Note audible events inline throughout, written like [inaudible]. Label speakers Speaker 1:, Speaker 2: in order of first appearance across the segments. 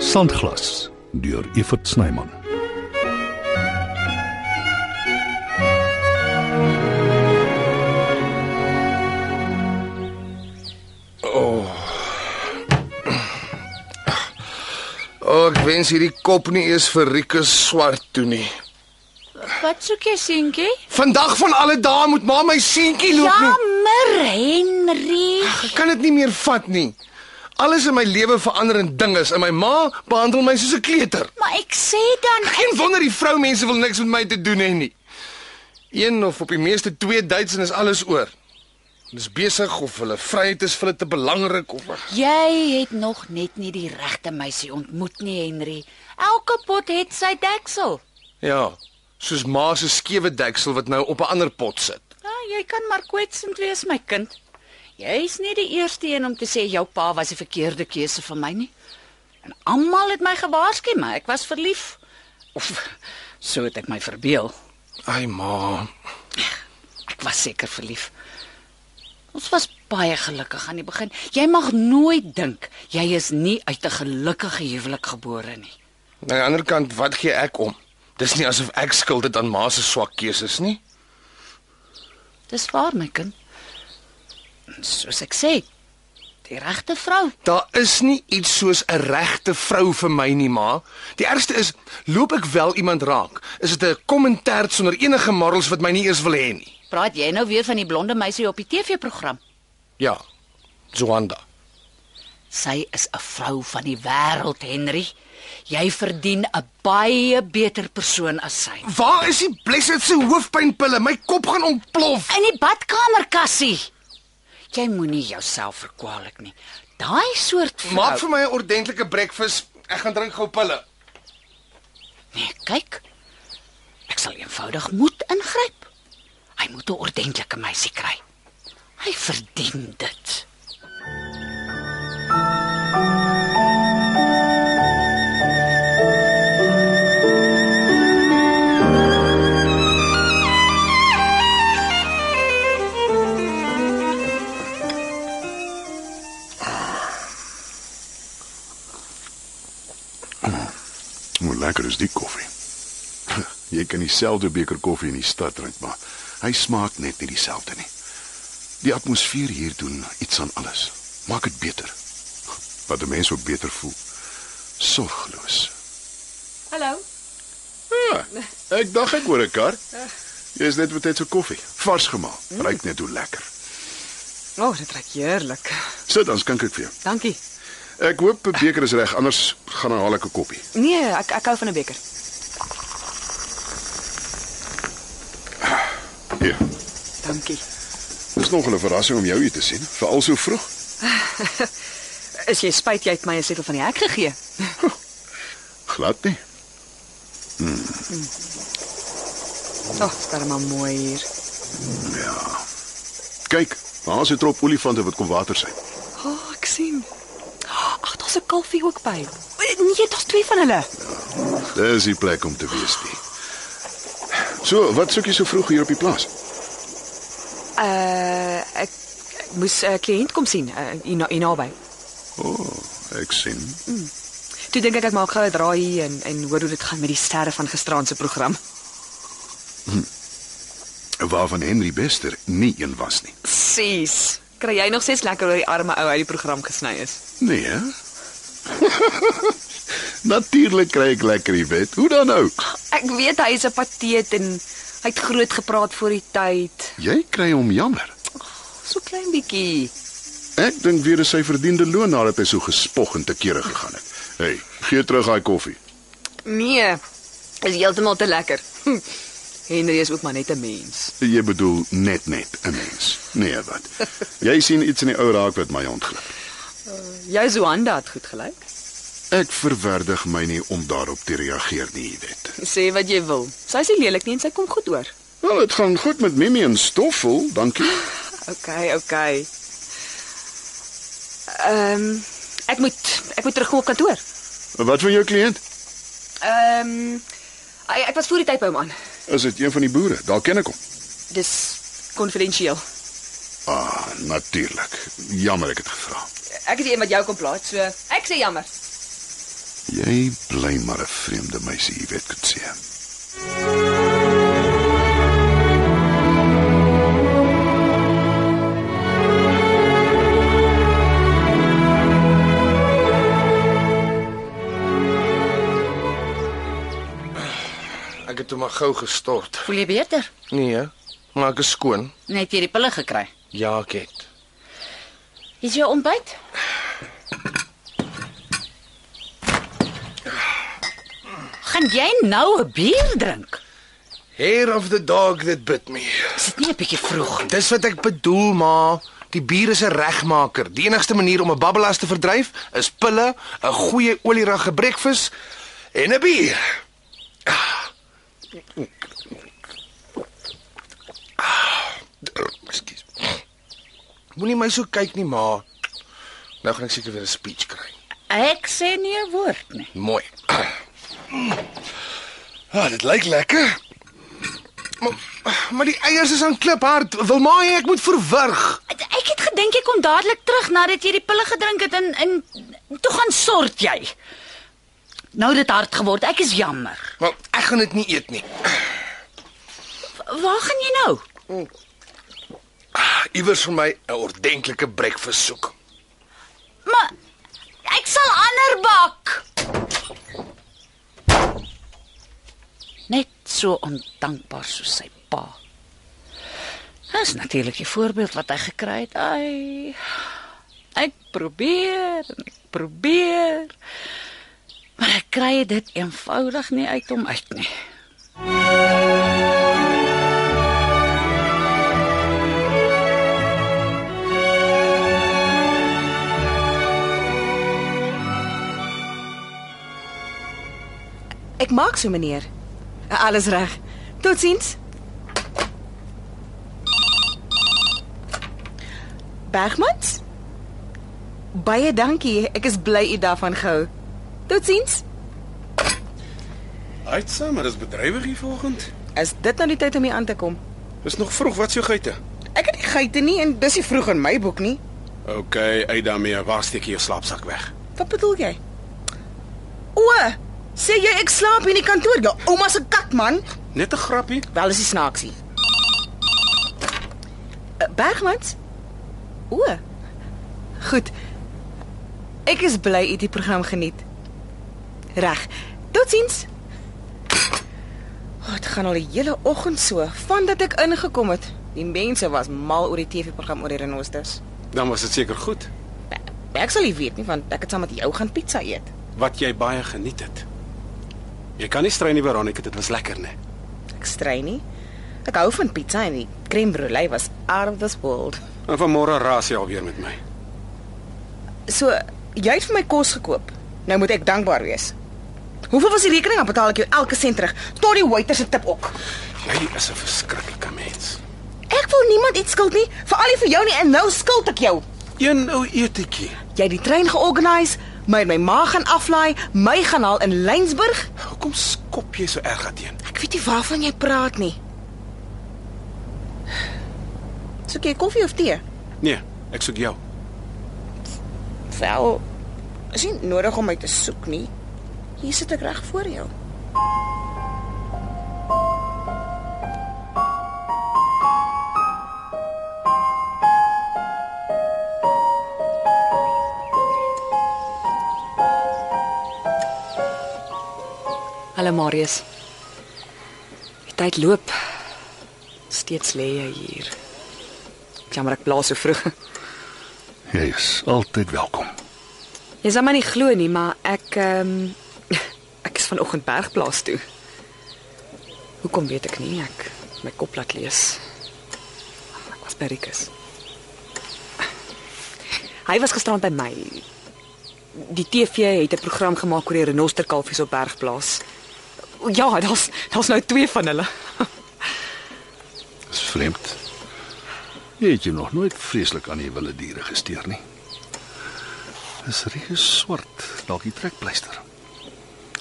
Speaker 1: Sandglas deur Evert Snyman.
Speaker 2: O, ek wens hierdie kop nie eens vir Rikus swart toe nie.
Speaker 3: Wat soek jy, seentjie?
Speaker 2: Vandag van alle dae moet ma my seentjie
Speaker 3: Ja,
Speaker 2: loop nie.
Speaker 3: Jammer, Henry.
Speaker 2: Ek kan dit nie meer vat nie. Alles in my lewe verander in dinge en my ma behandel my soos 'n kleuter.
Speaker 3: Maar ek sê dan
Speaker 2: Geen wonder die vroumense wil niks met my te doen hê nie. Een of op die meeste twee dates en is alles oor. Hulle is besig of hulle vryheid is vir hulle te belangrik of
Speaker 3: jy het nog net nie die regte meisie ontmoet nie, Henry. Elke pot het sy deksel.
Speaker 2: ja, soos ma se skewe deksel wat nou op 'n ander pot sit.
Speaker 3: Ja, jy kan maar kwetsend wees, my kind. Jy's nie die eerste een om te sê jou pa was die verkeerde keuse vir my nie. En almal het my gewaarsku, maar ek was verlief. Of [laughs] so het ek my verbeel.
Speaker 2: Ai ma,
Speaker 3: Ek was seker verlief. Ons was baie gelukkig aan die begin. Jy mag nooit dink jy is nie uit 'n gelukkige huwelik gebore nie.
Speaker 2: Aan die ander kant, wat gee ek om? Dis nie asof ek skuld het aan ma se swak keuses nie.
Speaker 3: Dis waar my kind. Soos ek sê, die regte vrou.
Speaker 2: Daar is nie iets soos 'n regte vrou vir my nie, ma. Die ergste is, loop ek wel iemand raak, is dit 'n kommentaar sonder enige morals wat my nie eers wil hê nie.
Speaker 3: Praat jy nou weer van die blonde meisie op die TV-program?
Speaker 2: Ja. Zoanda.
Speaker 3: Sy is 'n vrou van die wêreld, Henry. Jy verdien 'n baie beter persoon as sy.
Speaker 2: Waar is die blessed se hoofpynpille? My kop gaan ontplof.
Speaker 3: In die badkamer kassie. Jy moenie jouself verkwalik nie. Daai soort vrou.
Speaker 2: Maak vir my 'n ordentlike breakfast. Ek gaan drink gou pille.
Speaker 3: Nee, kyk. Ek sal eenvoudig moet ingryp. Hy moet 'n ordentlike meisie kry. Hy verdien dit.
Speaker 4: Hoe lekker is die koffie. [laughs] Jy kan dieselfde beker koffie in die stad drink, maar hy smaak net nie dieselfde nie. Die atmosfeer hier doen iets aan alles. Maak dit beter. Wat 'n mens ook beter voel. Sorgloos.
Speaker 5: Hallo.
Speaker 4: Ja, ek dink ek hoor 'n kar. Jy is net met dit se koffie, vars gemaak. Ryk net hoe lekker.
Speaker 5: O, oh, dit ruik heerlik.
Speaker 4: Sit dan skink ek vir jou.
Speaker 5: Dankie.
Speaker 4: Ek hoop 'n beker is reg, anders gaan haal ek 'n koppie.
Speaker 5: Nee, ek ek hou van 'n beker.
Speaker 4: Hier.
Speaker 5: Dankie.
Speaker 4: Dis nog 'n verrassing om jou hier te sien, veral so vroeg.
Speaker 5: Is jy spyt jy het my 'n setel van die hek gegee?
Speaker 4: Glad nie.
Speaker 5: Ag, oh, daar maar mooi hier.
Speaker 4: Ja. Kyk, daar's 'n trop olifante wat kom water sy.
Speaker 5: O, oh, ek sien. Ag, daar's 'n kalfie ook by. Nee, daar's twee van hulle.
Speaker 4: Dis die plek om te wees nie. So, wat soek jy so vroeg hier op die plaas?
Speaker 5: Uh, ek, ek moes 'n uh, kliënt kom sien uh, hier na- hier naby.
Speaker 4: O, oh, ek sien.
Speaker 5: Toe dink ek ek maak gou 'n draai hier en en hoor hoe dit gaan met die sterre van gisteraand se program.
Speaker 4: Waarvan Henry Bester nie een was nie.
Speaker 5: Sis, kry jy nog ses lekker oor die arme ou uit die program gesny is.
Speaker 4: Nee, hè? [laughs] Natuurlik kry ek lekker die wet. Hoe dan nou?
Speaker 5: Ek weet hy is 'n pateet en hy het groot gepraat voor die tyd.
Speaker 4: Jy kry hom jammer.
Speaker 5: So klein bietjie.
Speaker 4: Ek dink weer is sy verdiende loon nadat hy so gespog en te kere gegaan het. Hey, gee terug daai koffie.
Speaker 5: Nee. Is heeltemal te lekker. [laughs] Hm. Henry is ook maar net 'n mens.
Speaker 4: Jy bedoel net net 'n mens. Nee, wat? Jy sien iets in die ou raak wat my ontglip.
Speaker 5: Jou Zoanda het goed gelyk.
Speaker 4: Ek verwerdig my nie om daarop te reageer nie, jy weet.
Speaker 5: Sê wat jy wil. Sy's nie lelik nie en sy kom goed oor.
Speaker 4: Wel, dit gaan goed met Mimi en Stoffel, dankie.
Speaker 5: OK, OK. Ehm ek moet ek moet terugkom op kantoor.
Speaker 4: Wat van jou kliënt?
Speaker 5: Ehm ai, ek was voor die tyd by hom aan.
Speaker 4: Is dit een van die boere? Daar ken ek hom.
Speaker 5: Dis konfidensieel.
Speaker 4: Ah, natuurlik. Jammer ek het gevra.
Speaker 5: Ek is die een wat jou kom plaas, so ek sê jammer.
Speaker 4: Jy bly maar 'n vreemde meisie, jy weet Kutse.
Speaker 2: Ek het toe maar gou gestort.
Speaker 3: Voel jy beter?
Speaker 2: Nee, maar ek is skoon.
Speaker 3: Net jy die pille gekry.
Speaker 2: Ja, ek het.
Speaker 3: Is jou ontbyt? Gaan jy nou 'n bier drink?
Speaker 2: Hair of the dog that bit me.
Speaker 3: Is dit nie 'n bietjie vroeg?
Speaker 2: Dis wat ek bedoel, ma. Die bier is 'n regmaker. Die enigste manier om 'n babbelas te verdryf is pille, 'n goeie olierige breakfast en 'n bier. Ah. Ah. Ekskuus. Moenie my so kyk nie, ma. Nou gaan ek seker weer 'n speech kry.
Speaker 3: Ek sê nie 'n woord nie.
Speaker 2: Mooi. Ah, dit lyk lekker. Maar, maar die eiers is aan kliphard. Wil maar ek moet verwrig.
Speaker 3: Ek het gedink jy kom dadelik terug nadat jy die pille gedrink het en en toe gaan sort jy. Nou dit hard geword. Ek is jammer.
Speaker 2: Wel, ek gaan dit nie eet nie.
Speaker 3: Waar gaan jy nou?
Speaker 2: Ah, Iewers vir my 'n ordentlike breakfast soek.
Speaker 3: Maar ek sal ander bak. Net so ondankbaar soos sy pa. Dis natuurlik die voorbeeld wat hy gekry het. Ai. Ek probeer en ek probeer. Maar ek kry dit eenvoudig nie uit hom uit nie.
Speaker 6: Ek maak so meneer. Alles reg. Totsiens. Bergmans? Baie dankie. Ek is bly u daarvan gehou. Totsiens.
Speaker 7: Uitsaam, maar dis bedrywig hier vanoggend.
Speaker 6: Is dit nou die tyd om hier aan te kom?
Speaker 7: Dis nog vroeg, wat se geite?
Speaker 6: Ek het nie geite nie en dis nie vroeg in my boek nie.
Speaker 7: OK, uit daarmee. Waar steek jy jou slaapsak weg?
Speaker 6: Wat bedoel jy? O, sê jy ek slaap hier in die kantoor? Jou ouma se kat man.
Speaker 7: Net 'n grappie.
Speaker 6: Wel is die snaaksie. Bergmans? O. Goed. Ek is bly u het die program geniet. Reg. Totsiens. Oh, dit gaan al die hele oggend so, vandat ek ingekom het. Die mense was mal oor die TV-program oor die renosters.
Speaker 7: Dan was dit seker goed
Speaker 6: Ek sal nie weet nie want ek het saam met jou gaan pizza eet.
Speaker 7: wat jy baie geniet het. Jy kan nie strei nie, Veronica, dit was lekker, né?
Speaker 6: Ek strei nie. Ek hou van pizza en die crème brûlée was out of this world.
Speaker 7: En vanmôre raas jy alweer met my.
Speaker 6: So, jy het vir my kos gekoop. Nou moet ek dankbaar wees. Hoeveel was die rekening? Dan betaal ek jou elke sent terug, tot die waiter se tip ook.
Speaker 7: Jy is 'n verskriklike mens.
Speaker 6: Ek wil niemand iets skuld nie, veral nie vir jou nie en nou skuld ek jou.
Speaker 7: Een ou etetjie.
Speaker 6: Jy het die trein georganiseer, my en my ma gaan aflaai, my gaan haal in Lensburg.
Speaker 7: Hoekom skop jy so erg daarteen?
Speaker 6: Ek weet nie waarvan jy praat nie. Soek jy koffie of tee?
Speaker 7: Nee, ek soek jou.
Speaker 6: Wel, is nie nodig om my te soek nie. Hier sit ek reg voor jou.
Speaker 5: Hallo Marius. Die tyd loop. Steeds lê jy hier. Jammer ek blaas so vroeg.
Speaker 1: Jy is altyd welkom.
Speaker 5: Jy sal my nie glo nie, Nee, maar ek ehm ek is vanoggend bergplaas toe. Hoekom weet ek nie? Ek het my kop laat lees. Ek was by Rikus. Hy was gisterand by my. Die TV het 'n program gemaak oor die renosterkalfies op bergplaas. Ja, daar's daar's nou twee van hulle.
Speaker 1: Dis vreemd. Jy het jou nog nooit vreeslik aan die wilde diere gesteer nie. Dis
Speaker 4: er
Speaker 1: reus swart, dalk die trekpleister.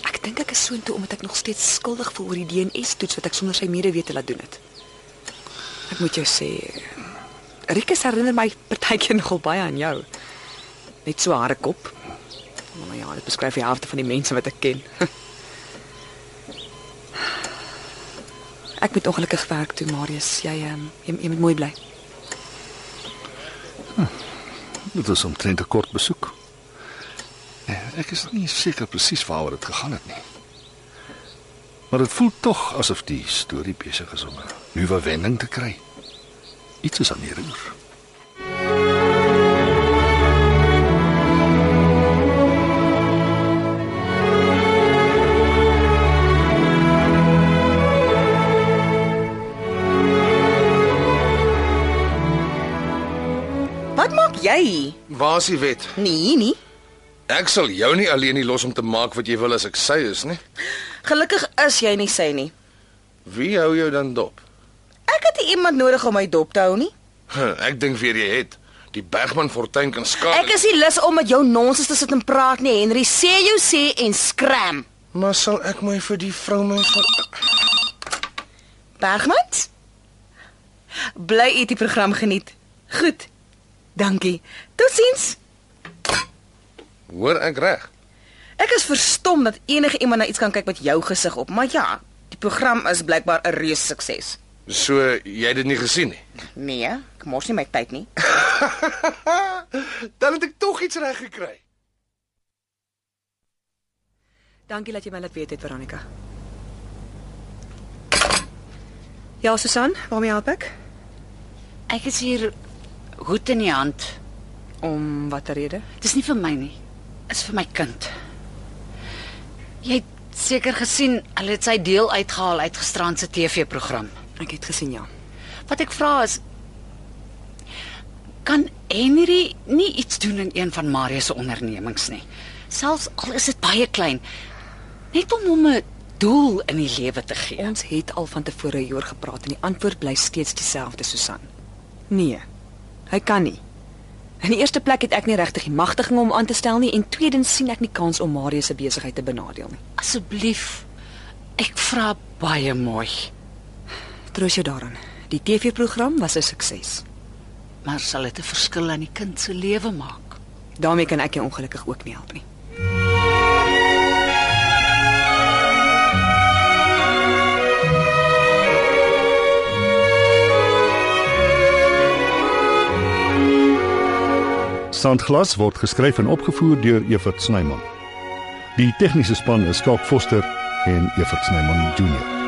Speaker 5: Ek dink ek is soontoe omdat ek nog steeds skuldig voel oor die DNA-toets wat ek sonder sy medewete laat doen het. Ek moet jou sê, [laughs] Rikus herinner my partykeer nogal baie aan jou. Net so hare kop, Maar ja, dit beskryf die helfte van die mense wat ek ken. [laughs] Ek moet ongelukkig werk toe, Marius. Jy ehm jy, jy moet mooi bly.
Speaker 1: Dit was omtrent 'n kort besoek. Eh, Ek is nie seker presies waaroor dit gegaan het nie. Maar dit voel tog asof die storie besig is om 'n nuwe wending te kry. Iets is aan die roer.
Speaker 6: Wat maak jy?
Speaker 2: Waar is die wet?
Speaker 6: Nee, nie.
Speaker 2: Ek sal jou nie alleen nie los om te maak wat jy wil as ek sy is nie.
Speaker 6: Gelukkig is jy nie sy nie.
Speaker 2: Wie hou jou dan dop?
Speaker 6: Ek het nie iemand nodig om my dop te hou nie.
Speaker 2: Huh, Ek dink weer jy het. Die Bergman Fortuin kan skade.
Speaker 6: Ek is nie lus om met jou nonsens te sit en praat nie, Henry. Sê jou sê en skram.
Speaker 2: Maar sal ek my vir die vrou my vir...
Speaker 6: Bergman? Bly eet die program geniet. Goed. Dankie. Totsiens.
Speaker 2: Hoor ek reg?
Speaker 6: Ek is verstom dat enige iemand na iets kan kyk met jou gesig op, maar ja, die program is blykbaar 'n reuse sukses.
Speaker 2: So jy het dit nie gesien nie.
Speaker 6: Nee, ek mors nie my tyd nie.
Speaker 2: Dan het ek tog iets reg gekry.
Speaker 5: Dankie dat jy my laat weet het, Veronica. Ja, Susan, waarmee help ek?
Speaker 3: Ek is hier hoed in die hand.
Speaker 5: Om watter rede?
Speaker 3: Dis nie vir my nie. Dis vir my kind. Jy het seker gesien, hulle het sy deel uitgehaal uit gisterand se TV-program.
Speaker 5: Ek het gesien ja.
Speaker 3: Wat ek vra is kan Henry nie iets doen in een van Marius se ondernemings nie. Selfs al is dit baie klein. Net om hom 'n doel in die lewe te gee.
Speaker 5: Ons het al van tevore hieroor gepraat en die antwoord bly steeds dieselfde, Susan. Nee. Hy kan nie. In die eerste plek het ek nie regtig die magtiging om hom aan te stel nie en tweedens sien ek nie kans om Marius se besigheid te benadeel nie.
Speaker 3: Asseblief. Ek vra baie mooi,
Speaker 5: Troos jou daaraan. Die TV-program was 'n sukses.
Speaker 3: maar sal dit 'n verskil aan die kind se lewe maak?
Speaker 5: Daarmee kan ek jou ongelukkig ook nie help nie.
Speaker 8: Sandglas word geskryf en opgevoer deur Evert Snyman. Die tegniese span is Skalk Foster en Evert Snyman Junior.